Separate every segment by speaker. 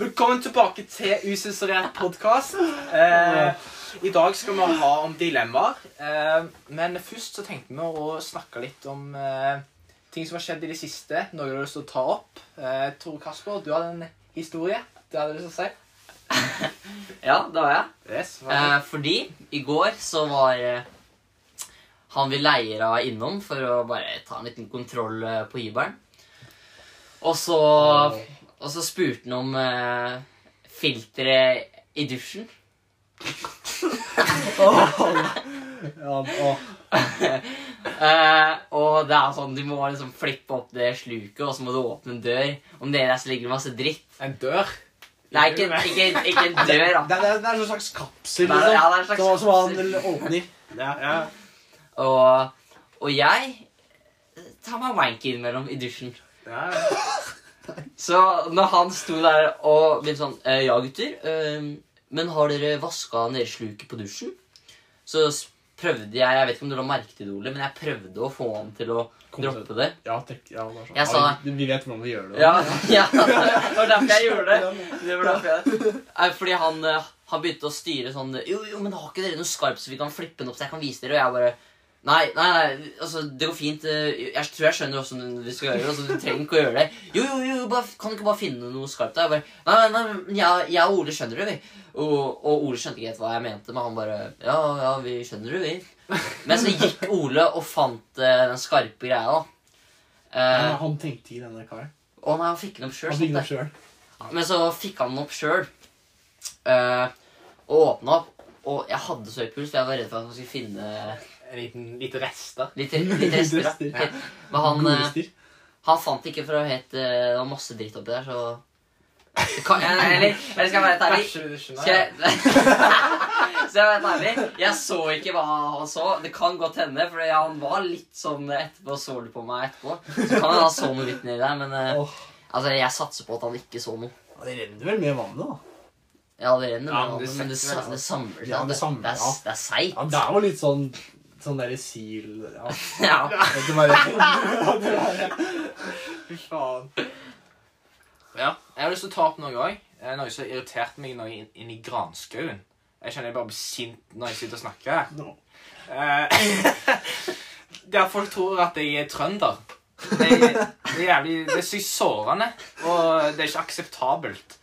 Speaker 1: Velkommen tilbake til Usensurert podkast. Eh, I dag skal vi ha om dilemmaer. Eh, men først så tenkte vi å snakke litt om eh, ting som har skjedd i det siste. Noe du har lyst til å ta opp. Eh, Tore Kasper, du hadde en historie. Det hadde du lyst til å si.
Speaker 2: Ja, det har jeg.
Speaker 1: Yes, hva-
Speaker 2: Eh, fordi i går så var eh, han vi leier av innom for å bare ta en liten kontroll eh, på hybelen. Og så, og så spurte han om eh, filteret i dusjen.
Speaker 1: ja, å,
Speaker 2: Eh, og det er sånn, du må liksom flippe opp det sluket, og så må du åpne en dør. Om det der så ligger det masse dritt.
Speaker 1: en dør.
Speaker 2: Nei, ikke, ikke, ikke en dør, da.
Speaker 3: Det er, det er, det er en slags kapsel,
Speaker 2: Nei,
Speaker 3: liksom.
Speaker 2: ja, det er en slags
Speaker 3: som, som
Speaker 2: kapsel.
Speaker 3: han åpner.
Speaker 1: Ja, ja.
Speaker 2: Og, og jeg tar meg wank innimellom i dusjen.
Speaker 1: Ja,
Speaker 2: Så når han sto der og begynte sånn eh, Ja, gutter, eh, men har dere vaska nede sluket på dusjen? Så s- prøvde jeg Jeg vet ikke om du la merke til det, Ole, men jeg prøvde å få han til å
Speaker 3: Kom til-
Speaker 2: droppe det.
Speaker 3: Ja, trekk, ja, bare sånn.
Speaker 2: Jeg sa-
Speaker 3: Ja, vi, vi vet hvordan vi gjør det.
Speaker 2: Ja, ja, det var derfor jeg gjorde det. det, var derfor jeg gjorde det. Nei, Fordi han, eh, han begynte å styre sånn Jo, jo, men har ikke dere noe skarp, så vi kan flippe den opp, så jeg kan vise dere? Og jeg bare Nei, nei, nei, altså, det går fint. eh, Jeg tror jeg skjønner hvordan vi skal gjøre det. Altså, du trenger ikke å gjøre det. Jo, jo, jo, bare, kan du ikke bare finne noe skarpt der? Jeg bare, nei, nei, nei, men jeg, jeg og Ole skjønner det, vi. Og, og Ole skjønte ikke helt hva jeg mente, men han bare Ja, ja, vi skjønner det, vi. Men så gikk Ole og fant eh, den skarpe greia, da.
Speaker 3: Men
Speaker 2: Eh,
Speaker 3: han tenkte ikke denne karen.
Speaker 2: å nei, han fikk den opp sjøl.
Speaker 3: Han fikk det sjøl.
Speaker 2: Men så fikk han den opp sjøl. eh, og åpna opp. Og jeg hadde så høy puls, for jeg var redd for at han skulle finne
Speaker 1: En liten, lite rest, da.
Speaker 2: litt, litt rester. da.
Speaker 3: Rester.
Speaker 2: Helt- Men han, eh,
Speaker 3: Godester.
Speaker 2: han fant ikke for å hete eh, Det var masse dritt oppi der, så kan, eller, eller skal jeg være helt ærlig
Speaker 1: Bæsjer i dusjen,
Speaker 2: skal
Speaker 1: ja.
Speaker 2: jeg, skal jeg være helt ærlig? Jeg så ikke hva han så. Det kan godt hende, for han var litt sånn etterpå. Så det på meg etterpå. Så kan han ha så noe litt nedi der, men eh,
Speaker 3: Åh,
Speaker 2: altså, jeg satser på at han ikke så noe.
Speaker 3: ja, det renner vel med vannet, da.
Speaker 2: Ja, det renner,
Speaker 1: Ja,
Speaker 2: men,
Speaker 1: men det
Speaker 2: det, men det,
Speaker 1: setter
Speaker 2: sa-
Speaker 1: seg.
Speaker 2: det samler seg.
Speaker 3: Ja, det samler,
Speaker 2: det, er,
Speaker 3: ja.
Speaker 2: det er seigt.
Speaker 3: Ja, det er jo litt sånn sånn derre sil ja,
Speaker 2: Ja.
Speaker 3: at det bare, at det bare.
Speaker 1: Fy faen. Ja, jeg har lyst til å ta opp noe òg. Noe som irriterte meg noe inn, inn i granskauen. Jeg kjenner jeg bare blir sint når jeg sitter og snakker her.
Speaker 3: No.
Speaker 1: Eh, Der folk tror at jeg er trønder. Det er, det er jævlig Det er sykt sårende, og det er ikke akseptabelt.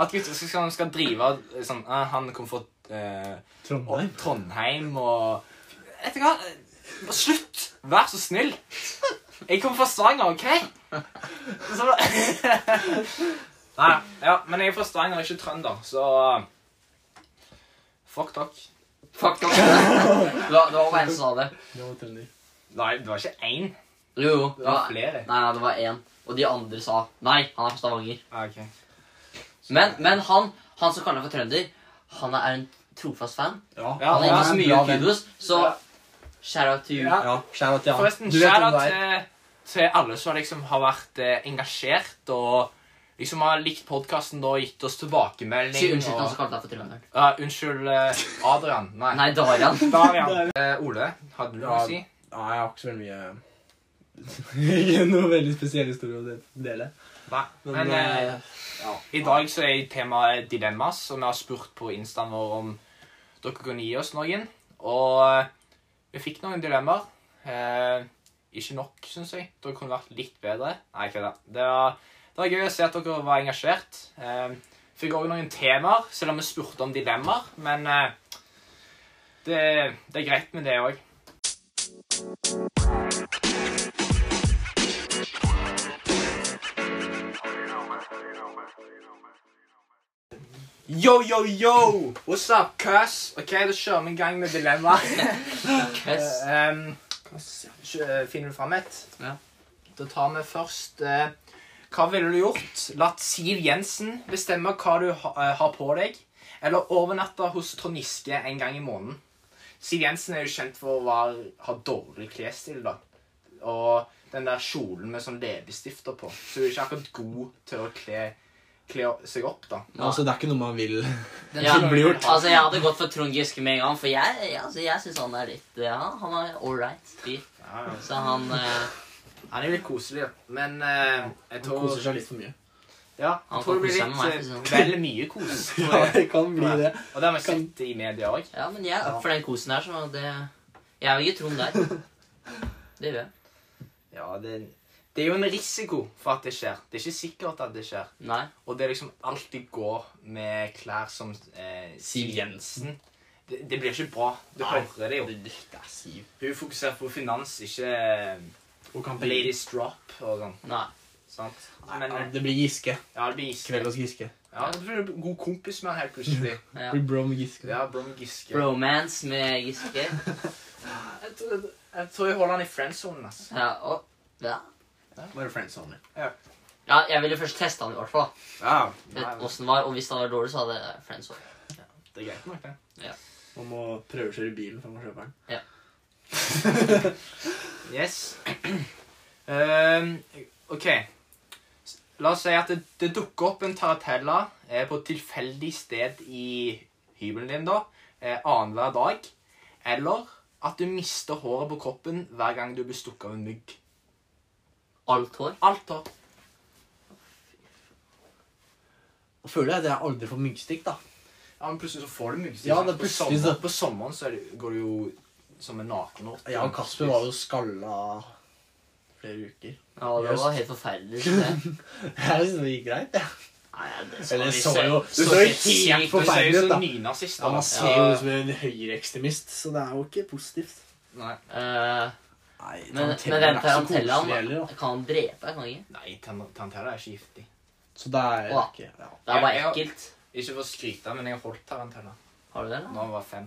Speaker 1: At gutter skal, skal drive sånn eh, Han kom fra eh, og
Speaker 3: Trondheim.
Speaker 1: Trondheim og Vet du hva? Slutt! Vær så snill! Jeg kommer fra Stavanger, OK? Så... Nei, ja, men jeg er fra Stavanger, ikke trønder, så eh, Fuck dere.
Speaker 2: Fuck off. Det var, det var bare en som sa det.
Speaker 3: Det var trønder.
Speaker 1: Nei, det var ikke én.
Speaker 2: Jo, jo.
Speaker 1: Det
Speaker 2: Det
Speaker 1: var
Speaker 2: var,
Speaker 1: flere.
Speaker 2: nei, nei, det var én. Og de andre sa nei, han er fra Stavanger.
Speaker 1: Ah, ok.
Speaker 2: Men, men han, han som kaller seg for trønder, han er en trofast fan.
Speaker 3: Ja.
Speaker 1: Ja,
Speaker 2: Han har gitt
Speaker 1: er
Speaker 2: oss
Speaker 3: en
Speaker 2: mye
Speaker 3: bra venn.
Speaker 2: kudos, så
Speaker 1: Ja.
Speaker 2: shout out to you.
Speaker 1: Ja.
Speaker 3: Ja, skjær at ja.
Speaker 1: Forresten,
Speaker 3: Du vet hvem
Speaker 1: skjæra
Speaker 3: det er.
Speaker 1: til, til alle som liksom har vært eh, engasjert og liksom har likt podkasten og gitt oss tilbakemelding.
Speaker 2: Si unnskyld til han
Speaker 1: og,
Speaker 2: som
Speaker 3: altså.
Speaker 2: kalte deg for trønderen.
Speaker 1: Ja, unnskyld eh, Adrian. Nei.
Speaker 2: Nei, Darian.
Speaker 1: Darian. Eh, Ole, hadde du noe
Speaker 3: Ja.
Speaker 1: å si?
Speaker 3: Nei, jeg har ikke så veldig mye Ikke noe veldig spesiell historie å de- dele.
Speaker 1: Nei.
Speaker 3: Men,
Speaker 1: Men eh,
Speaker 3: eh, ja.
Speaker 1: i dag så er temaet dilemmas, og vi har spurt på instaen vår om dere kunne gi oss noen. Og eh, vi fikk noen dilemmaer. Eh, ikke nok, syns jeg. Dere kunne vært litt bedre. Nei, ikke det. Det var, det var gøy å se at dere var engasjert. Eh, fikk òg noen temaer, selv om vi spurte om dilemmaer. Men eh, det, det er greit med det òg. Yo, yo, yo! What's up, cuss? OK, da kjører vi i gang med dilemmaer.
Speaker 2: Yes.
Speaker 1: Eh, em, Kjø- eh, Finner du fram et?
Speaker 2: Ja.
Speaker 1: Da tar vi først eh, Hva ville du gjort? Latt Siv Jensen bestemme hva du ha, eh, har på deg, eller overnatte hos Trond Giske en gang i måneden? Siv Jensen er jo kjent for å være, ha dårlig klesstil, da. Og den der kjolen med sånn leppestifter på. Så hun er ikke akkurat god til å kle, kle seg opp, da.
Speaker 3: Altså, det er ikke noe man vil
Speaker 1: Den
Speaker 2: Ja.
Speaker 1: kjolen hun har-
Speaker 2: Altså, Jeg hadde gått for Trond Giske med en gang, for jeg, jeg, altså, jeg syns han er litt ja, Han er ålreit fyr.
Speaker 1: Ja, ja.
Speaker 2: Så han eh,
Speaker 1: Han er jo litt koselig, da. Men eh, jeg
Speaker 3: Han
Speaker 1: tror
Speaker 3: koser seg liksom. litt for mye.
Speaker 1: Ja,
Speaker 2: Han
Speaker 1: jeg tror det blir
Speaker 2: kan kose seg med meg,
Speaker 1: litt
Speaker 2: for å
Speaker 1: eh,
Speaker 2: si
Speaker 1: vel mye kos. tror
Speaker 3: Ja,
Speaker 1: jeg.
Speaker 3: det kan bli det.
Speaker 1: Og det har vi sett i media òg.
Speaker 2: Ja, men jeg er opp for den kosen her, så det Jeg vil ikke tro om deg. Det gjør jeg.
Speaker 1: Ja, det, det er jo en risiko for at det skjer. Det er ikke sikkert at det skjer.
Speaker 2: Nei.
Speaker 1: Og det er liksom alltid gå med klær som eh,
Speaker 3: Siv Jensen.
Speaker 1: Det, det blir ikke bra. Du
Speaker 3: Nei.
Speaker 1: hører det jo.
Speaker 3: Det er Siv.
Speaker 1: Hun fokuserer på finans, ikke eh,
Speaker 3: Og kampanje.
Speaker 1: ladies drop og sånn.
Speaker 2: Nei.
Speaker 1: Sant?
Speaker 3: Nei,
Speaker 1: Men
Speaker 3: ja,
Speaker 1: eh,
Speaker 3: det blir Giske.
Speaker 1: ja, det blir Giske.
Speaker 3: Kveld hos Giske.
Speaker 1: Ja, du blir du god kompis med han helt plutselig.
Speaker 2: Ja.
Speaker 3: Blir bro med Giske.
Speaker 1: Ja, bro med Giske.
Speaker 2: Bromance med Giske.
Speaker 1: Jeg tror, jeg tror jeg holder han i friendzonen, altså.
Speaker 2: Ja, og ja.
Speaker 3: Bare friends only.
Speaker 2: ja, jeg ville først teste han i hvert fall.
Speaker 3: Ja,
Speaker 1: Nei,
Speaker 2: Vet Åssen det var, og hvis det var dårlig, så hadde jeg friends over.
Speaker 1: det er greit nok, det.
Speaker 3: Man må prøve å kjøre bilen før man kjøper den.
Speaker 1: Yes. Ehm, OK. S- La oss si at det, det dukker opp en taratella eh, på et tilfeldig sted i hybelen din da, eh, annenhver dag. Eller at du mister håret på kroppen hver gang du blir stukket av en mygg.
Speaker 2: Alt hår.
Speaker 1: Alt hår.
Speaker 3: Og føler jeg at jeg aldri får myggstikk, da.
Speaker 1: Ja, men plutselig så får du myggstikk.
Speaker 3: Ja,
Speaker 1: sant?
Speaker 3: det er plutselig
Speaker 1: på, sommer,
Speaker 3: så-
Speaker 1: på sommeren så er det, går du jo som en nakenort.
Speaker 3: Jeg og Kasper var jo skalla flere uker.
Speaker 2: Ja, det var helt forferdelig. så det-
Speaker 3: Jeg synes det gikk greit, jeg.
Speaker 2: Nei, det
Speaker 3: Eller
Speaker 2: vi
Speaker 3: så jo-
Speaker 2: så
Speaker 3: du så jo
Speaker 2: sykt
Speaker 3: helt
Speaker 1: Du ser
Speaker 3: forferdelig
Speaker 1: jo
Speaker 3: ut, da.
Speaker 1: som nynazist.
Speaker 3: Ja,
Speaker 1: da.
Speaker 3: man ser jo ut som en høyreekstremist, så det er jo ikke positivt.
Speaker 1: Nei,
Speaker 2: Eh,
Speaker 3: Nei,
Speaker 2: Men, men den
Speaker 3: Tarantella er ikke så koselig
Speaker 2: tarantellaen
Speaker 3: heller, da.
Speaker 2: kan han drepe, kan han ikke?
Speaker 1: Nei tan- tarantella er ikke giftig.
Speaker 3: Så det er
Speaker 2: Åh.
Speaker 3: ikke ja.
Speaker 2: Det er
Speaker 1: Ja,
Speaker 2: bare
Speaker 1: ja.
Speaker 2: ekkelt.
Speaker 1: Ikke for å skryte, men jeg har holdt tarantella.
Speaker 2: Har du det? eller?
Speaker 1: Når han var fem.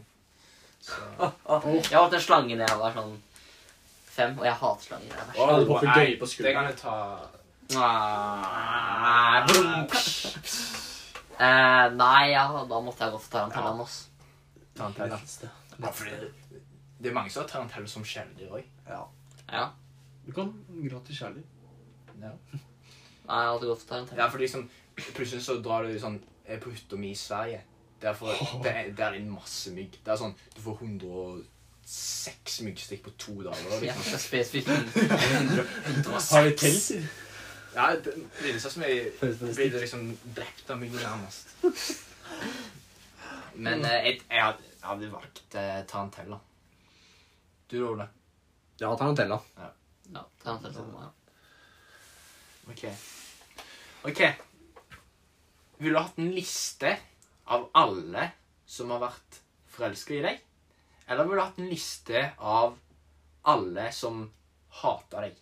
Speaker 1: Så...
Speaker 2: Jeg holdt en slange da jeg var sånn fem, og jeg hater slanger. Det er verst.
Speaker 3: Alle hopper
Speaker 1: nei,
Speaker 3: gøye på
Speaker 1: Det kan
Speaker 3: skulderen.
Speaker 1: jeg ta
Speaker 2: Ah, brum. Eh, nei, ja, da måtte jeg gått for tarantellaen, ass.
Speaker 1: Tarantella.
Speaker 3: Letteste.
Speaker 1: Ja, fordi det, det er mange som har tarantella som kjæledyr òg.
Speaker 3: Ja.
Speaker 2: Ja.
Speaker 3: Du kan gratis kjærlighet.
Speaker 1: Ja.
Speaker 2: Nei, jeg hadde gått for tarantella.
Speaker 1: ja, for liksom Plutselig så drar du sånn eh, på hytta mi i Sverige. Der, får, der, er- der er det masse mygg. Det er sånn Du får 106 myggstikk på to dager.
Speaker 2: Ja,
Speaker 1: Liksom.
Speaker 2: det er spesifikt. Mm.
Speaker 3: Har vi telt?
Speaker 1: Ja, det blir det sånn som jeg
Speaker 3: Følelsesmessig.
Speaker 1: blir liksom drept av mygg nærmest. Men eh, jeg, jeg, hadde, jeg hadde valgt eh, tarantella. Du, Ole?
Speaker 3: Ja, Tarantella.
Speaker 2: Ja, tarantella. for meg, ja.
Speaker 1: Ok. Ok. Vil du hatt en liste av alle som har vært forelska i deg? Eller vil du hatt en liste av alle som hater deg?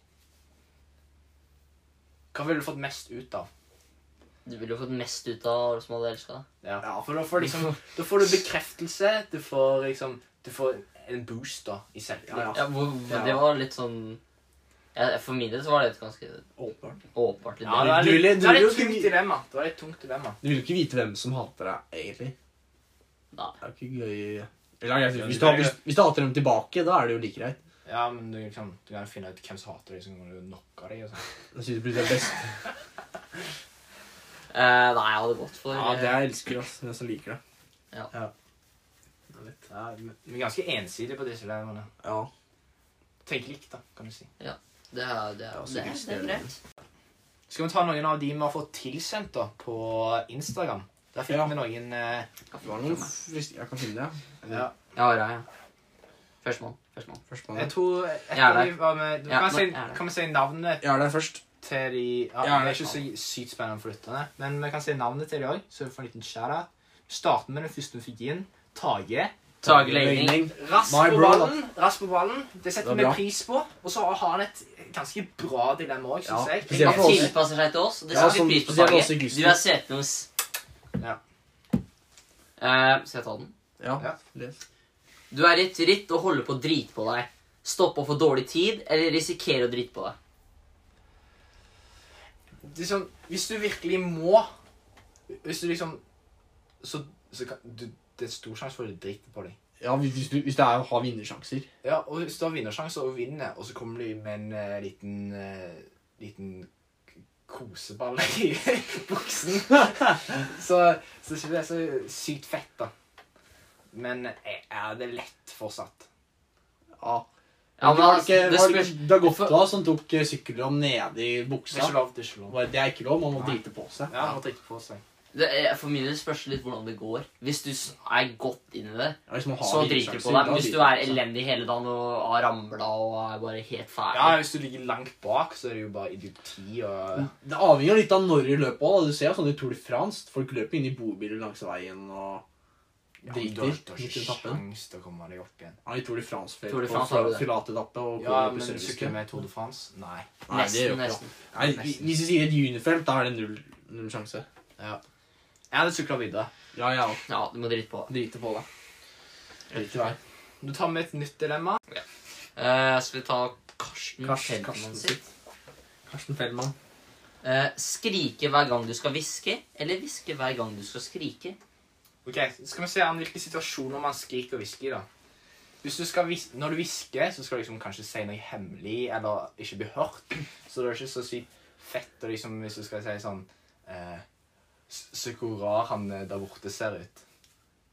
Speaker 1: Hva ville du fått mest ut av?
Speaker 2: Du ville jo fått mest ut av alle som hadde elska deg.
Speaker 1: Ja, for da får, liksom, da får du bekreftelse. Du får liksom Du får en boost da, i selvtillit.
Speaker 3: Ja,
Speaker 2: Ja, hvor, hvor,
Speaker 3: Ja.
Speaker 2: Det var litt sånn ja, For min del så var det et ganske
Speaker 3: Åpenbart.
Speaker 2: åpenbart.
Speaker 1: Ja,
Speaker 2: Ja,
Speaker 1: det var
Speaker 3: Du
Speaker 1: litt,
Speaker 3: ville-
Speaker 1: det var
Speaker 3: du ville
Speaker 1: litt
Speaker 3: jo
Speaker 1: tungt
Speaker 3: kunne-
Speaker 1: dilemma. Det var litt tungt dilemma.
Speaker 3: Du vil ikke vite hvem som hater deg, egentlig.
Speaker 2: Nei.
Speaker 3: Det er jo ikke gøy Eller, jeg,
Speaker 1: Ja,
Speaker 3: synes, hvis,
Speaker 1: det
Speaker 3: du,
Speaker 1: er
Speaker 3: hvis, hvis du hater dem tilbake, da er det jo like greit.
Speaker 1: Ja, men du, kan- liksom- du kan finne ut hvem som hater deg, så kan du knocke deg. og sånn.
Speaker 3: Jeg synes det blir det beste.
Speaker 2: Eh, nei, jeg hadde gått for
Speaker 3: Ja, det jeg elsker, ass. Men jeg så liker det.
Speaker 1: Ja, vi er ganske ensidige på disse elevene.
Speaker 3: Ja.
Speaker 1: Tenk likt, da, kan du si.
Speaker 2: Det er, det,
Speaker 3: Ja,
Speaker 2: er,
Speaker 3: så
Speaker 2: det, er,
Speaker 3: visste
Speaker 2: det er
Speaker 3: jeg
Speaker 2: greit.
Speaker 1: Skal vi ta noen av de vi har fått tilsendt da, på Instagram? Der fikk
Speaker 3: Ja.
Speaker 1: vi noen eh,
Speaker 3: Det var noen frist... Jeg kan finne det.
Speaker 1: ja.
Speaker 2: Ja, ja, ja. Førstemann. Førstemann.
Speaker 3: Førstemann.
Speaker 1: Jeg tror et
Speaker 2: Jeg er
Speaker 1: av de
Speaker 2: der.
Speaker 1: var med du,
Speaker 2: Ja,
Speaker 1: kan,
Speaker 2: nå
Speaker 1: si,
Speaker 2: er jeg der.
Speaker 1: kan vi si navnet
Speaker 3: Jeg er der først.
Speaker 1: til de ja,
Speaker 3: Jeg er
Speaker 1: Det er
Speaker 3: der.
Speaker 1: ikke så sykt spennende for lytterne, men vi kan si navnet til de òg, så vi får en liten shout-out. Vi starter med den første vi fikk inn. Tage.
Speaker 2: Tage Legning.
Speaker 1: Rask
Speaker 3: My
Speaker 1: på
Speaker 3: brother.
Speaker 1: ballen. rask på ballen. Det setter vi
Speaker 3: Det var bra.
Speaker 1: pris på. Og så har han et ganske bra dilemma òg, syns
Speaker 3: Ja,
Speaker 1: jeg.
Speaker 3: spesielt for
Speaker 2: Han
Speaker 3: oss.
Speaker 2: tilpasser seg til oss. og Det
Speaker 3: Ja,
Speaker 2: setter vi
Speaker 3: sånn-
Speaker 2: pris på.
Speaker 3: spesielt
Speaker 2: Tage.
Speaker 3: oss i Gusten.
Speaker 2: Du er svetenos.
Speaker 1: Ja.
Speaker 2: Eh, skal jeg ta den?
Speaker 3: Ja.
Speaker 1: Ja.
Speaker 3: Les.
Speaker 2: Du er i et ritt og holder på å drite på deg. Stoppe og få dårlig tid, eller risikere å drite på deg.
Speaker 1: det er sånn, hvis du virkelig må Hvis du liksom Så, så kan du, Det er stor sjanse for at du driter på deg.
Speaker 3: Ja, hvis hvis du, hvis det er, har vinnersjanser.
Speaker 1: Ja, og Hvis du har vinnersjanse og vinner, og så kommer du med en eh, liten eh, liten k- koseball i buksen Så, så er ikke det så sykt fett, da. Men eh, er det lett fortsatt?
Speaker 3: Ja.
Speaker 2: Ja, men
Speaker 3: var det
Speaker 2: altså,
Speaker 3: ikke,
Speaker 2: det
Speaker 3: var det
Speaker 2: spørs-
Speaker 3: ikke Dagofta som tok eh, sykkelrom nede i
Speaker 1: Det er
Speaker 3: buksa?
Speaker 1: ikke lov. Det er ikke lov.
Speaker 3: Var- Det er ikke lov, man må
Speaker 1: Nei.
Speaker 3: drite på seg.
Speaker 1: Ja, han har dritt på seg.
Speaker 2: Det er, for min del spørs det litt hvordan det går. Hvis du s- er godt inn i det,
Speaker 3: Ja, hvis man har
Speaker 2: så
Speaker 3: lite
Speaker 2: driter du
Speaker 3: sjanser,
Speaker 2: på deg.
Speaker 3: da
Speaker 2: Men hvis
Speaker 3: driter
Speaker 2: du
Speaker 3: man
Speaker 2: er
Speaker 3: på seg.
Speaker 2: elendig hele dagen og har ramla og er bare helt
Speaker 1: Ja,
Speaker 2: ferdig
Speaker 1: hvis du ligger langt bak, så er det jo bare idioti og
Speaker 3: Det avhenger jo litt av når i løpet òg. Du ser jo sånn i Tour de France. Folk løper inn i bobiler langs veien og
Speaker 1: Ja, men du
Speaker 3: driter
Speaker 1: har
Speaker 3: midt
Speaker 1: du har
Speaker 3: i
Speaker 1: ikke
Speaker 3: etappen.
Speaker 1: sjans til å komme deg opp igjen.
Speaker 3: Ja, I Tour de France
Speaker 2: Tour de
Speaker 3: på
Speaker 2: France har du det.
Speaker 3: fyllatetappe
Speaker 1: Ja,
Speaker 3: og kommer
Speaker 1: men
Speaker 3: på service.
Speaker 1: sykle med Tour de France? Nei.
Speaker 3: Nei, det
Speaker 2: Nesten,
Speaker 3: gjør ikke det.
Speaker 2: nesten.
Speaker 3: Nei,
Speaker 1: Nesten.
Speaker 3: Hvis du sier et juniorfelt, da er det null, null sjanse.
Speaker 1: Jeg hadde sykla videre.
Speaker 3: Ja, ja.
Speaker 2: Ja, du må drite på.
Speaker 3: Drite på deg. Drit i vei.
Speaker 1: Du tar med et nytt dilemma.
Speaker 2: Eh, skal vi ta Karsten
Speaker 3: Karsten-
Speaker 2: Feldman
Speaker 3: Karsten
Speaker 2: sitt?
Speaker 3: Karsten Feldman.
Speaker 2: Eh, skrike hver gang du skal hviske, eller hviske hver gang du skal skrike?
Speaker 1: Ok, Skal vi se an hvilke situasjoner man skriker og hvisker i. da. Hvis du skal vis Når du hvisker, så skal du liksom kanskje si noe hemmelig eller ikke bli hørt. Så det er ikke så sykt fett å liksom, hvis du skal si sånn eh, s- Se hvor rar han eh, der borte ser ut.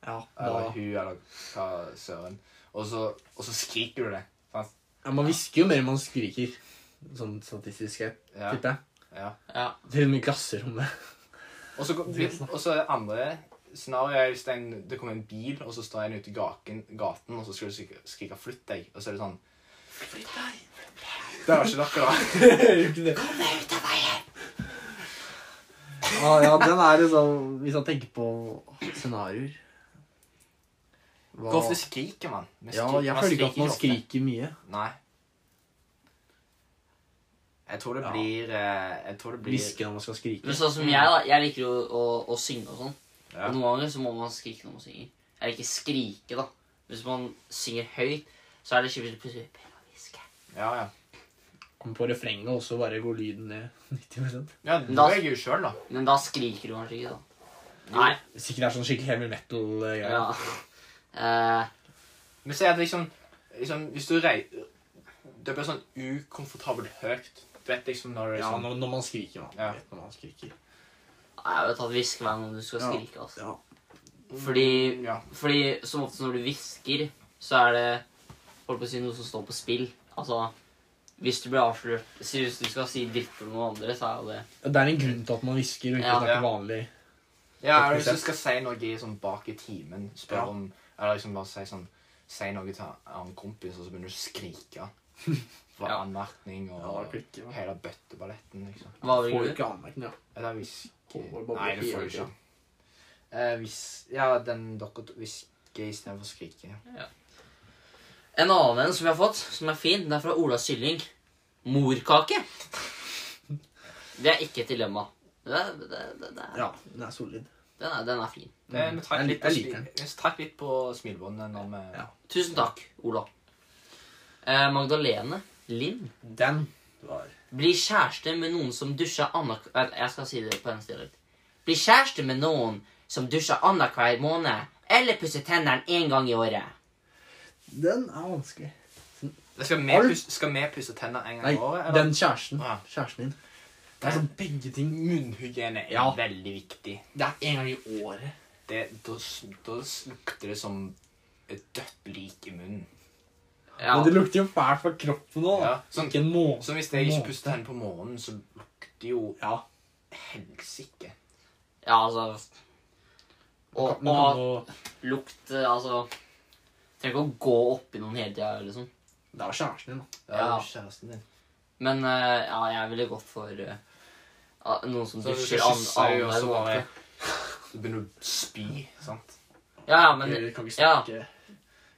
Speaker 3: Ja, da.
Speaker 1: Eller hun, eller hva søren. Og så, og så skriker du det. Sant?
Speaker 3: ja, man hvisker jo mer enn man skriker. Sånn statistisk sett,
Speaker 1: Ja,
Speaker 3: tipper jeg.
Speaker 1: ja.
Speaker 2: Ja.
Speaker 3: Til og med i klasserommet.
Speaker 1: Og så, og så det andre scenarioet er hvis det, er en, det kommer en bil, og så står en ute i gaken, gaten, og så skal du skrike- skrike 'flytt deg', og så er det sånn Det var ikke dere, da.
Speaker 3: Kom deg ut av veien! Ah, ja, den er liksom Hvis man tenker på scenarioer Hva-
Speaker 1: Hvor ofte skriker man? Vi
Speaker 3: Ja,
Speaker 1: skriker-
Speaker 3: jeg
Speaker 1: man
Speaker 3: føler ikke at man
Speaker 1: ofte.
Speaker 3: skriker mye.
Speaker 1: Nei. Jeg tror det
Speaker 3: Ja.
Speaker 1: blir eh, Jeg tror det blir
Speaker 3: Hviske når man skal skrike.
Speaker 2: Men sånn som jeg, da. Jeg liker jo å, å, å synge og sånn.
Speaker 1: Ja.
Speaker 2: Og noen ganger så må man skrike når man synger. Jeg liker skrike, da. Hvis man synger høyt, så er det skikkelig plutselig «Per og hviske».
Speaker 1: Ja, ja.
Speaker 3: Kommer på refrenget også bare går lyden ned 90
Speaker 1: ja
Speaker 2: Men
Speaker 1: nå
Speaker 2: da-
Speaker 1: er jeg jo sjøl, da.
Speaker 2: Men da skriker du kanskje ikke, da. Nei.
Speaker 3: Sikkert det er sånn skikkelig heavy metal-greie.
Speaker 2: Ja. Eh,
Speaker 1: Men si at liksom, liksom Hvis du rei... Det blir sånn ukomfortabelt høyt. Du vet liksom når det er
Speaker 3: Ja,
Speaker 1: sånn
Speaker 3: når, når man skriker, man.
Speaker 1: Ja.
Speaker 3: Vet når man skriker.
Speaker 2: jeg vil ta et hvisk hver gang du skal
Speaker 3: Ja.
Speaker 2: skrike. altså.
Speaker 3: Ja.
Speaker 2: Fordi-
Speaker 1: Mm, ja.
Speaker 2: Fordi som ofte når du hvisker, så er det holdt på å si noe som står på spill. Altså, hvis du blir avslørt si- Hvis du skal si dritt om noen andre, så er jo det
Speaker 3: Det er en grunn til at man hvisker og ikke
Speaker 2: Ja.
Speaker 3: snakker
Speaker 1: Ja.
Speaker 3: vanlig.
Speaker 1: Ja,
Speaker 3: Takk
Speaker 1: eller hvis
Speaker 3: for
Speaker 1: du skal si noe i sånn bak i timen, spør
Speaker 3: Ja.
Speaker 1: om Eller liksom bare si sånn Si noe til en kompis, og så begynner du å skrike. For
Speaker 2: Ja.
Speaker 1: anmerkning og
Speaker 3: Ja, det klikker, ja.
Speaker 1: hele bøtteballetten, liksom.
Speaker 2: Hva
Speaker 3: Får
Speaker 2: vil
Speaker 3: jo
Speaker 2: du?
Speaker 3: ikke anmerkning, da.
Speaker 1: Eller hvis
Speaker 3: Håvard bare
Speaker 1: Nei,
Speaker 3: blir
Speaker 1: det får du
Speaker 3: helt-
Speaker 1: ikke. Eh, hvis Ja, den dere to hvisker istedenfor skrike.
Speaker 3: Mm.
Speaker 2: En annen en som jeg har fått, som er fin, den er fra Ola Sylling. Morkake. Det er ikke et dilemma. Det, er- det, det, det er,
Speaker 3: Ja, den er solid.
Speaker 2: den, er, den er fin.
Speaker 1: Eh, Vi trakk
Speaker 3: Jeg
Speaker 1: litt
Speaker 3: lik-
Speaker 1: på
Speaker 3: jeg liker
Speaker 1: smi-
Speaker 3: den.
Speaker 1: vi trakk litt på smilebåndet når vi
Speaker 3: Ja.
Speaker 2: Tusen takk, Ola. Eh, Magdalene Lind.
Speaker 3: Den var
Speaker 2: Bli kjæreste med noen som dusjer annenhver Vent, Jeg skal si det på hennes dialekt. Bli kjæreste med noen som dusjer annenhver måned, eller pusser tennene én gang i året.
Speaker 3: Den er vanskelig.
Speaker 1: Skal vi,
Speaker 3: Har du-
Speaker 1: pusse, skal vi pusse tenner en gang
Speaker 3: Nei,
Speaker 1: i året?
Speaker 3: den kjæresten.
Speaker 1: Ja.
Speaker 3: Kjæresten din. Det er sånn begge ting.
Speaker 1: Munnhygiene er
Speaker 3: Ja.
Speaker 1: veldig viktig.
Speaker 3: Det er en gang i året.
Speaker 1: Det, da, s- da s- lukter det som et dødt lik i munnen.
Speaker 2: Ja,
Speaker 3: Men det lukter jo fælt fra kroppen nå. da.
Speaker 1: Ja, sånn-
Speaker 3: Ikke en måned.
Speaker 1: Så hvis jeg ikke
Speaker 3: Måte.
Speaker 1: puster hendene på morgenen, så lukter jo
Speaker 3: Ja.
Speaker 1: helsike.
Speaker 2: ja altså Og,
Speaker 3: Men kan
Speaker 2: og
Speaker 3: du-
Speaker 2: lukt eh, Altså Trenger ikke å gå oppi noen hele tida, liksom.
Speaker 3: Det er jo kjæresten din, da.
Speaker 1: Det er jo
Speaker 2: Ja.
Speaker 1: kjæresten din.
Speaker 2: Men eh, ja, jeg ville gått for eh, ja, noen som
Speaker 1: Så hvis du
Speaker 2: dusjer an-
Speaker 1: kysser jo,
Speaker 2: annenhver
Speaker 1: så bare
Speaker 2: måned.
Speaker 1: Så begynner du å spy, sant?
Speaker 2: Ja, ja, men
Speaker 3: Dere kan ikke
Speaker 2: ja.
Speaker 3: snakke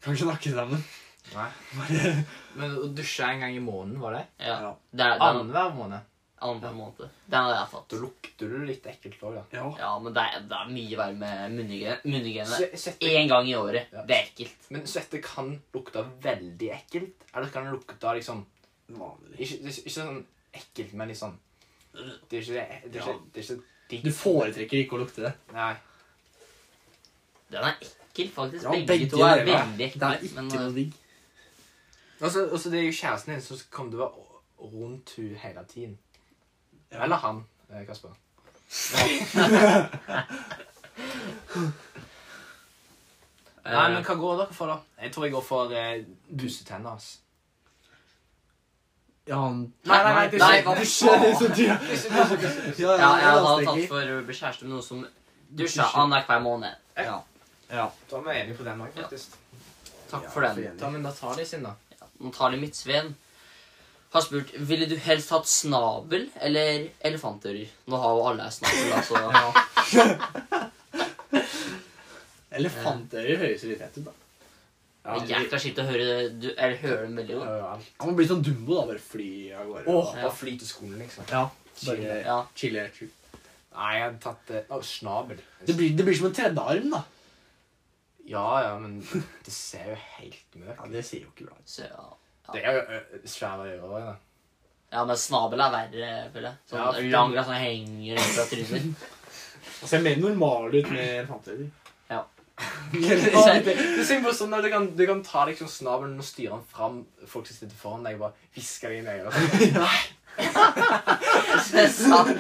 Speaker 3: Kan ikke snakke sammen.
Speaker 1: Nei.
Speaker 3: Bare
Speaker 1: Men å dusje en gang i måneden, var det?
Speaker 2: ja,
Speaker 3: Ja.
Speaker 2: Det er det er
Speaker 1: Annenhver måned.
Speaker 2: annenhver måned. Den hadde jeg tatt.
Speaker 1: Da lukter du litt ekkelt òg, da.
Speaker 3: Ja.
Speaker 2: Ja, men det er, det er mye verre med munnhygiene- munnhygiene.
Speaker 1: Se- svette-
Speaker 2: Én gang i året.
Speaker 1: Ja.
Speaker 2: Det er ekkelt.
Speaker 1: Men svette kan lukte veldig ekkelt. Eller kan det lukte liksom
Speaker 3: Vanlig.
Speaker 1: ikke, det er ikke sånn ekkelt, men litt sånn Det er ikke det, er ikke, det, er ikke digg.
Speaker 3: Du foretrekker ikke å lukte det.
Speaker 1: Nei.
Speaker 2: Den er ekkel, faktisk.
Speaker 3: Ja,
Speaker 2: begge,
Speaker 3: begge
Speaker 2: to er
Speaker 3: deler.
Speaker 2: veldig
Speaker 3: Det
Speaker 2: ekle.
Speaker 3: er ikke
Speaker 2: Men
Speaker 3: noe
Speaker 2: eh,
Speaker 3: digg.
Speaker 1: Og så- og så Altså, det er jo kjæresten din, så kommer til å være o- rundt hun hele tiden.
Speaker 3: Ja.
Speaker 1: Eller han, eh, Kasper. Nei, men hva går dere for, da? Jeg tror jeg går for eh, bussetenner. eh, ass.
Speaker 3: Ja, han
Speaker 1: Nei, nei, nei, du
Speaker 2: nei,
Speaker 1: sier-
Speaker 2: hva
Speaker 1: du
Speaker 3: Dusja
Speaker 2: faen?
Speaker 3: liksom du- Ja,
Speaker 1: Dusje, dusje, dusje, dusje.
Speaker 3: ja,
Speaker 2: Ja, jeg hadde
Speaker 3: landstenger.
Speaker 2: tatt for å bli kjæreste med noen som dusja
Speaker 3: Dusjer.
Speaker 2: annenhver måned.
Speaker 3: Ja. ja.
Speaker 1: Da er vi enige på den òg, faktisk.
Speaker 2: Takk for den.
Speaker 3: enig.
Speaker 1: Da, men da tar de sin, da.
Speaker 2: Natalie Midtsveen har spurt Ville du helst hatt snabel eller elefantører. Nå har jo alle her snabel, altså.
Speaker 3: Ja. Elefantører høres jo litt fett ut, da.
Speaker 2: Det er jækla kjipt å høre det. Du, eller høre dem veldig godt.
Speaker 3: Han må bli sånn Dumbo, da. Bare fly av gårde.
Speaker 1: Åh,
Speaker 2: Ja.
Speaker 1: bare fly til skolen, liksom.
Speaker 3: Ja. Bare
Speaker 1: Chile.
Speaker 2: Ja.
Speaker 3: chille. chille.
Speaker 1: Nei, jeg hadde tatt eh, Å, snabel.
Speaker 3: Det blir, det blir som en tredje arm, da.
Speaker 1: Ja, ja, men det ser jo helt mørkt
Speaker 3: Ja, Det ser jo ikke bra ut.
Speaker 2: Så, ja.
Speaker 1: Det er jo ø, svære ører. da.
Speaker 2: ja, men snabel er verre, føler jeg. Sånn
Speaker 1: Ja, for-
Speaker 2: lang, altså henger ut fra trynet.
Speaker 3: Han ser mer normal ut med elefantører.
Speaker 2: Ja.
Speaker 1: Det er så morsomt når du kan, du kan ta liksom snabelen og styre den fram. Folk som sitter foran deg, bare hvisker det inn i øret.
Speaker 2: Det er sant.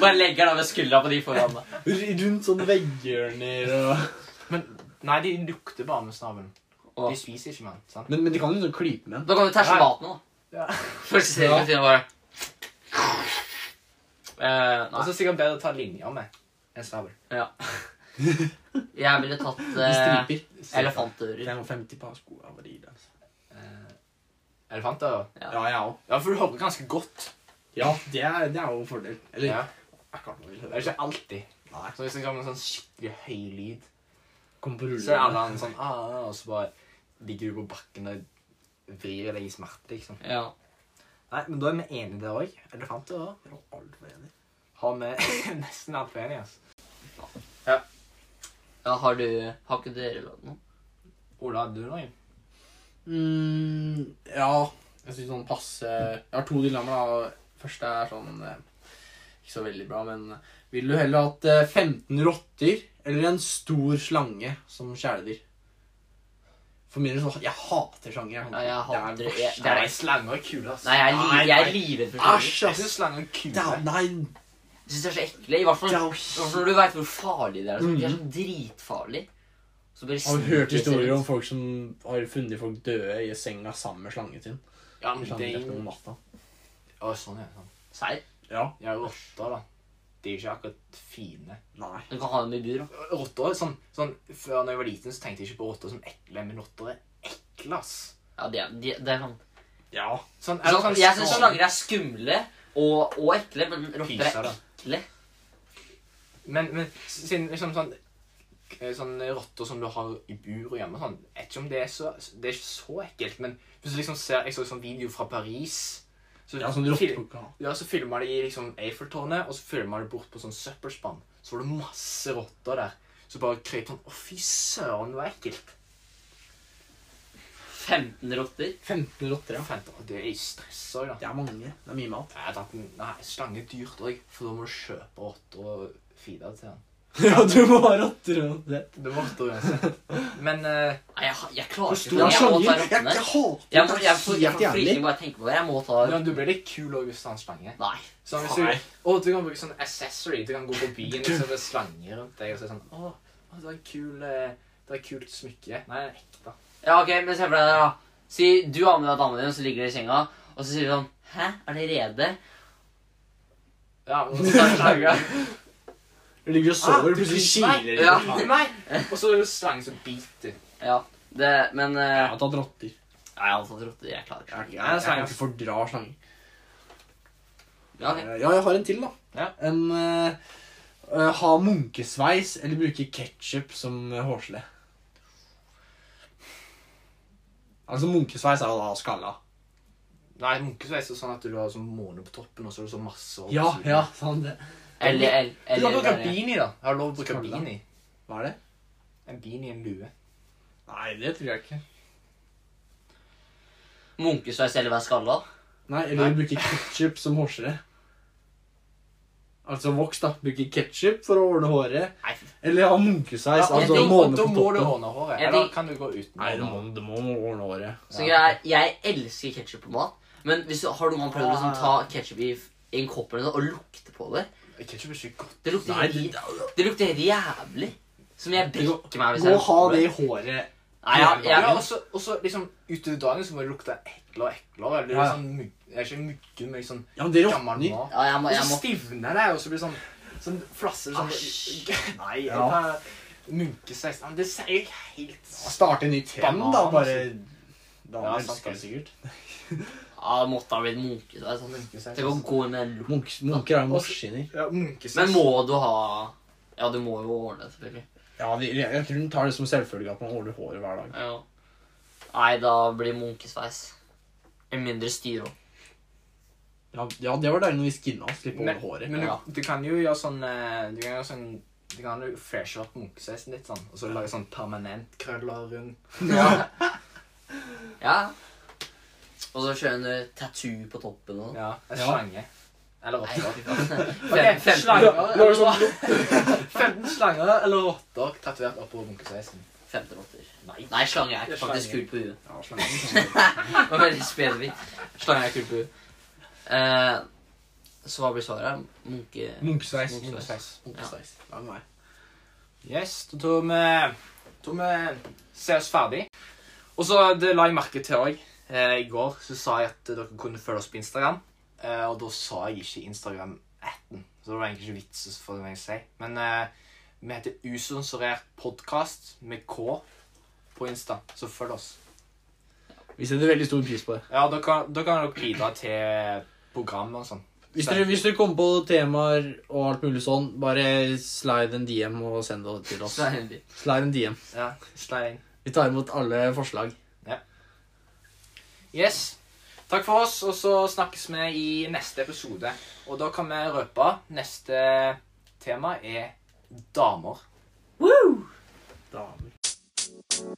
Speaker 2: Bare legger den ved skuldra på de foran meg.
Speaker 3: Rundt sånn vegghjørner og
Speaker 1: Men nei, de lukter bare med snabelen.
Speaker 2: Åh.
Speaker 1: De spiser ikke med den. sant?
Speaker 3: Men, men de kan jo sånn klype med den.
Speaker 2: Da kan du terse
Speaker 1: Ja.
Speaker 2: maten, da.
Speaker 1: Ja.
Speaker 2: Først ser du fyren bare Eh,
Speaker 1: Og
Speaker 2: Nei.
Speaker 1: så er det sikkert bedre å ta linjer med enn snabel.
Speaker 2: Ja. Jeg ville tatt
Speaker 3: De
Speaker 2: eh,
Speaker 3: striper.
Speaker 2: elefantører.
Speaker 3: 55 par sko av Adidas.
Speaker 1: Elefanter?
Speaker 2: Ja.
Speaker 3: Ja, jeg òg.
Speaker 1: Ja, for du hører ganske godt.
Speaker 3: Ja, det er, det er jo en fordel. Eller
Speaker 1: Ja.
Speaker 3: jeg kan vel
Speaker 1: Det er
Speaker 3: høre.
Speaker 1: ikke alltid.
Speaker 3: Nei.
Speaker 1: Så hvis det kommer en sånn skikkelig høy lyd,
Speaker 3: Kom på
Speaker 1: så er alle
Speaker 3: rullene.
Speaker 1: andre sånn ah, Og så bare ligger du på bakken og vrir deg i smerte, liksom.
Speaker 2: Ja.
Speaker 1: Nei, men da er vi enige der òg. Elefanter òg.
Speaker 3: Jeg var altfor enig.
Speaker 1: Har vi nesten alt for enige, altså.
Speaker 2: ja har du Har ikke dere lagd noe?
Speaker 1: Ola, hadde du noen?
Speaker 3: Mm, ja. Jeg syns sånn passe Jeg har to dilemmaer. da. Første er sånn eh, Ikke så veldig bra, men eh, Vil du heller hatt eh, 15 rotter eller en stor slange som kjæledyr? For min del så Jeg hater slanger. jeg.
Speaker 2: Ja, jeg hater
Speaker 3: det.
Speaker 2: det.
Speaker 3: verste.
Speaker 2: Det er-
Speaker 1: Nei, slanger er kule, altså.
Speaker 2: Nei, jeg er, li
Speaker 3: Nei,
Speaker 2: jeg er
Speaker 3: nei.
Speaker 2: livredd for slanger.
Speaker 3: Æsj,
Speaker 1: Jeg
Speaker 3: ass!
Speaker 1: syns slanger er
Speaker 3: Det
Speaker 1: kule.
Speaker 3: er, nei,
Speaker 2: Jeg syns de er så ekle. I hvert fall
Speaker 3: det er
Speaker 2: i
Speaker 3: jo
Speaker 2: hvert fall når du veit hvor farlige de er. Så. De er så dritfarlige. Så bare
Speaker 3: Har du
Speaker 2: sniker
Speaker 3: hørt
Speaker 2: seg
Speaker 3: historier
Speaker 2: rundt.
Speaker 3: om folk som har funnet folk døde i senga sammen med slangen sin?
Speaker 1: Ja, men det
Speaker 3: Slangen om natta.
Speaker 1: Å, sånn er det. Sånn.
Speaker 2: Serr?
Speaker 3: Ja.
Speaker 1: Ja, rotter, da. De er jo ikke akkurat fine.
Speaker 3: Nei.
Speaker 2: Du kan ha dem i bur. da.
Speaker 1: Rotter, sånn, sånn, Før når jeg var liten, så tenkte jeg ikke på rotter som ekle, men rotter er ekle, ass.
Speaker 2: Ja, det er, de, det er sånn.
Speaker 3: Ja.
Speaker 1: Sånn,
Speaker 2: sånn, Jeg syns
Speaker 1: sånn-
Speaker 2: slanger er skumle og, og ekle, men rotter
Speaker 1: Pyser,
Speaker 2: er
Speaker 1: da.
Speaker 2: ekle.
Speaker 1: Men, men siden liksom sånn eh, Sånne rotter som du har i bur og hjemme og sånn, jeg vet ikke om det er så Det er ikke så ekkelt, men hvis du liksom ser Jeg så en sånn video fra Paris så,
Speaker 3: Ja, sånn rotte
Speaker 1: fil- Ja, så filma de i liksom Eiffeltårnet, og så filma de bort på sånn søppelspann. Så var det masse rotter der. Så bare krøp han Å, fy søren, det var ekkelt.
Speaker 2: 15 rotter.
Speaker 3: 15 rotter, ja.
Speaker 1: Fant- å, Det er jo stress òg, da.
Speaker 3: Det er mange. Det er mye mat.
Speaker 1: Jeg har tatt en Nei, slange er dyrt òg, for da må du kjøpe rotter og feede til den.
Speaker 3: Ja, du må ha rotter og det.
Speaker 1: Du må ha rotter uansett. Men eh,
Speaker 2: Nei, jeg, har- jeg klarer ikke
Speaker 1: Ja,
Speaker 2: det. Jeg må ta
Speaker 3: Jeg, jeg
Speaker 2: rottene.
Speaker 3: hater
Speaker 2: Jeg må, jeg, får- jeg,
Speaker 3: helt
Speaker 2: får frysning
Speaker 3: jævlig.
Speaker 2: bare jeg tenker på det. Jeg må ta
Speaker 1: men du blir litt kul òg hvis du har en slange.
Speaker 2: Nei.
Speaker 1: Sånn, hvis du,
Speaker 3: Nei.
Speaker 1: å, du kan bruke sånn accessory. Du kan gå på byen liksom, med slanger rundt deg og si sånn Å, å, det var en kul eh, Det var et kult smykke. Nei, det er ekte.
Speaker 2: Ja, ok, men se for deg det, da. Si du har med deg damen din, så ligger dere i senga, og så sier du sånn Hæ, er det rede?
Speaker 1: Ja, men så er det slanger.
Speaker 3: Du ligger og
Speaker 1: Ah,
Speaker 3: sover,
Speaker 1: du
Speaker 3: plutselig
Speaker 1: biter
Speaker 3: kiler
Speaker 1: meg.
Speaker 3: det.
Speaker 2: Ja.
Speaker 1: Nei, Nei! Og så er det slangen som biter.
Speaker 2: Ja, det, men eh,
Speaker 3: Jeg har tatt rotter.
Speaker 2: Nei, jeg har tatt rotter. Jeg klarer ikke.
Speaker 3: Jeg, jeg, jeg kan ikke fordra slanger.
Speaker 2: Ja, ok.
Speaker 3: Eh, Ja, jeg har en til, da.
Speaker 1: Ja.
Speaker 3: En eh, eh, Ha munkesveis eller bruke ketsjup som eh, hårgelé. Altså, munkesveis er jo da skalla.
Speaker 1: Nei, munkesveis er sånn at du har sånn måne på toppen, og så er det sånn masse opp
Speaker 3: Ja,
Speaker 1: siden.
Speaker 3: ja, sant det.
Speaker 2: Eller, eller,
Speaker 1: Du kan
Speaker 2: eller
Speaker 1: bruke
Speaker 2: bare-
Speaker 1: beanie, da. Jeg har lov å bruke
Speaker 3: Skalla.
Speaker 1: beanie.
Speaker 3: Hva er det?
Speaker 1: En beanie i en lue.
Speaker 3: Nei, det tror jeg ikke.
Speaker 2: eh, Munkesveis eller være skalla.
Speaker 3: Nei, eller bruke ketsjup som hårgelé. Altså voks, da. Bruke ketsjup for å ordne håret.
Speaker 2: Nei, fy-
Speaker 3: Eller ha munkesveis.
Speaker 2: Ja,
Speaker 3: altså
Speaker 2: jeg tenker-
Speaker 3: måne
Speaker 1: da
Speaker 3: på
Speaker 1: må du
Speaker 3: toppen.
Speaker 1: ordne håret.
Speaker 2: Jeg
Speaker 1: Eller
Speaker 2: tenker-
Speaker 1: kan du gå uten
Speaker 3: Nei, du
Speaker 1: håret?
Speaker 3: må, du må ordne håret.
Speaker 2: Så greia er, jeg elsker ketsjup på mat, men hvis du har noen gang prøvd å liksom, ta ketsjup i, i en kopp eller noe og lukte på det
Speaker 1: Ketchup er ikke godt.
Speaker 2: Det lukter
Speaker 3: Nei,
Speaker 2: helt,
Speaker 3: det-
Speaker 2: det lukter helt jævlig. Som jeg brekker meg hvis
Speaker 3: Gå
Speaker 2: jeg
Speaker 3: og ha
Speaker 2: lukter på
Speaker 3: det i håret.
Speaker 2: Nei, jeg, jeg,
Speaker 1: Ja, og så- og så liksom utover dagen så må det lukte eklere og eklere. Eller
Speaker 3: Ja, ja.
Speaker 1: sånn mugg- Det er ikke mygge, men liksom
Speaker 3: Ja, men det
Speaker 1: gammel
Speaker 3: råtner.
Speaker 1: mat.
Speaker 2: Ja, jeg må,
Speaker 1: Og
Speaker 2: jeg
Speaker 1: så
Speaker 2: må
Speaker 1: stivner det, og så blir det sånn, sånn flasser sånn
Speaker 2: Æsj.
Speaker 1: Nei,
Speaker 3: Ja.
Speaker 1: ja. munkesveis Nei, men Det sier jeg helt
Speaker 3: Starte en ny trend, da.
Speaker 1: Banan,
Speaker 3: Bare
Speaker 1: Ja,
Speaker 3: Damer
Speaker 1: sant,
Speaker 3: elsker det
Speaker 1: altså.
Speaker 3: sikkert.
Speaker 2: Ja, måtte ha blitt munkesveis. sånn.
Speaker 1: munkesveis.
Speaker 2: Tenk å gå inn med en lort.
Speaker 3: Munk, munker er jo maskiner.
Speaker 1: Ja, munkesveis.
Speaker 2: Men må du ha Ja, du må jo ordne det, selvfølgelig.
Speaker 3: Ja, de, jeg tror hun tar det som selvfølge at man holder håret hver dag.
Speaker 2: Ja. Nei, da blir munkesveis. En mindre styre òg.
Speaker 3: Ja, ja det var deilig når vi skinna og slapp å holde
Speaker 1: Men,
Speaker 3: håret.
Speaker 1: men du,
Speaker 2: Ja.
Speaker 1: du kan jo gjøre sånn eh, Du kan gjøre sånn Du kan jo freshe opp munkesveisen litt sånn, og så lage sånn permanent krøller rundt.
Speaker 2: Ja. ja. Og så kjøre en eh, tattoo på toppen og sånn.
Speaker 1: Ja, En
Speaker 3: Ja.
Speaker 1: slange. Eller
Speaker 2: Nei,
Speaker 1: rotter.
Speaker 2: fy faen.
Speaker 1: Ok,
Speaker 2: Fem- femten-
Speaker 1: slanger.
Speaker 2: Ja,
Speaker 1: Nå er det sånn- 15 slanger eller rotter tatovert oppover munkesveisen.
Speaker 2: Femte rotter.
Speaker 1: Nei.
Speaker 2: Nei, slange er
Speaker 1: Det er
Speaker 2: ikke faktisk
Speaker 1: slange.
Speaker 2: kult på huet.
Speaker 1: Ja,
Speaker 3: sånn
Speaker 1: slanger.
Speaker 2: Det var veldig spesifikt. Slange er kult på huet. Eh, så hva blir svaret? Munke...
Speaker 3: Munkesveis.
Speaker 2: Munkesveis.
Speaker 3: Munkesveis. Ja. nei.
Speaker 1: Yes, da tror vi tror vi ser oss ferdig. Og så eh, det la jeg merke til òg. Eh, I går så sa jeg at dere kunne følge oss på Instagram. Eh, og da sa jeg ikke Instagram-atten, så det var egentlig ikke vits for meg å si. Men eh, vi heter Usensurert podkast med K på Insta, så følg oss.
Speaker 3: Vi setter veldig stor pris på det.
Speaker 1: Ja, da kan da kan dere bidra til programmet og sånn.
Speaker 3: Hvis dere, hvis dere kommer på temaer og alt mulig sånn, bare slide en DM og send det til oss.
Speaker 2: Så er det-
Speaker 3: Slide en DM.
Speaker 1: Ja, slide inn.
Speaker 3: Vi tar imot alle forslag.
Speaker 1: Yes. Takk for oss, og så snakkes vi i neste episode. Og da kan vi røpe neste tema er damer.
Speaker 3: Damer.